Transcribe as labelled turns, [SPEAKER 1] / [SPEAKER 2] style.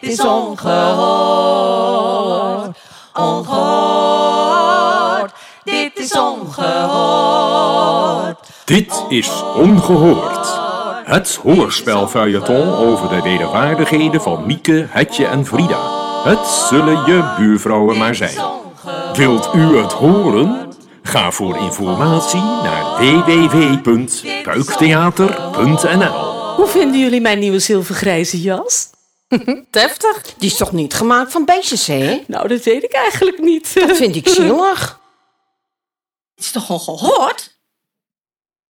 [SPEAKER 1] is ongehoord. Ongehoord. Dit is ongehoord.
[SPEAKER 2] Dit is Ongehoord. Het hoorspelfeuilleton over de wederwaardigheden van Mieke, Hetje en Frida. Het zullen je buurvrouwen maar zijn. Wilt u het horen? Ga voor informatie naar www.puiktheater.nl
[SPEAKER 3] Hoe vinden jullie mijn nieuwe zilvergrijze jas?
[SPEAKER 4] Deftig. Die is toch niet gemaakt van beestjes, hè?
[SPEAKER 3] Nou, dat weet ik eigenlijk niet.
[SPEAKER 4] Vind ik zielig.
[SPEAKER 1] Het is toch ongehoord?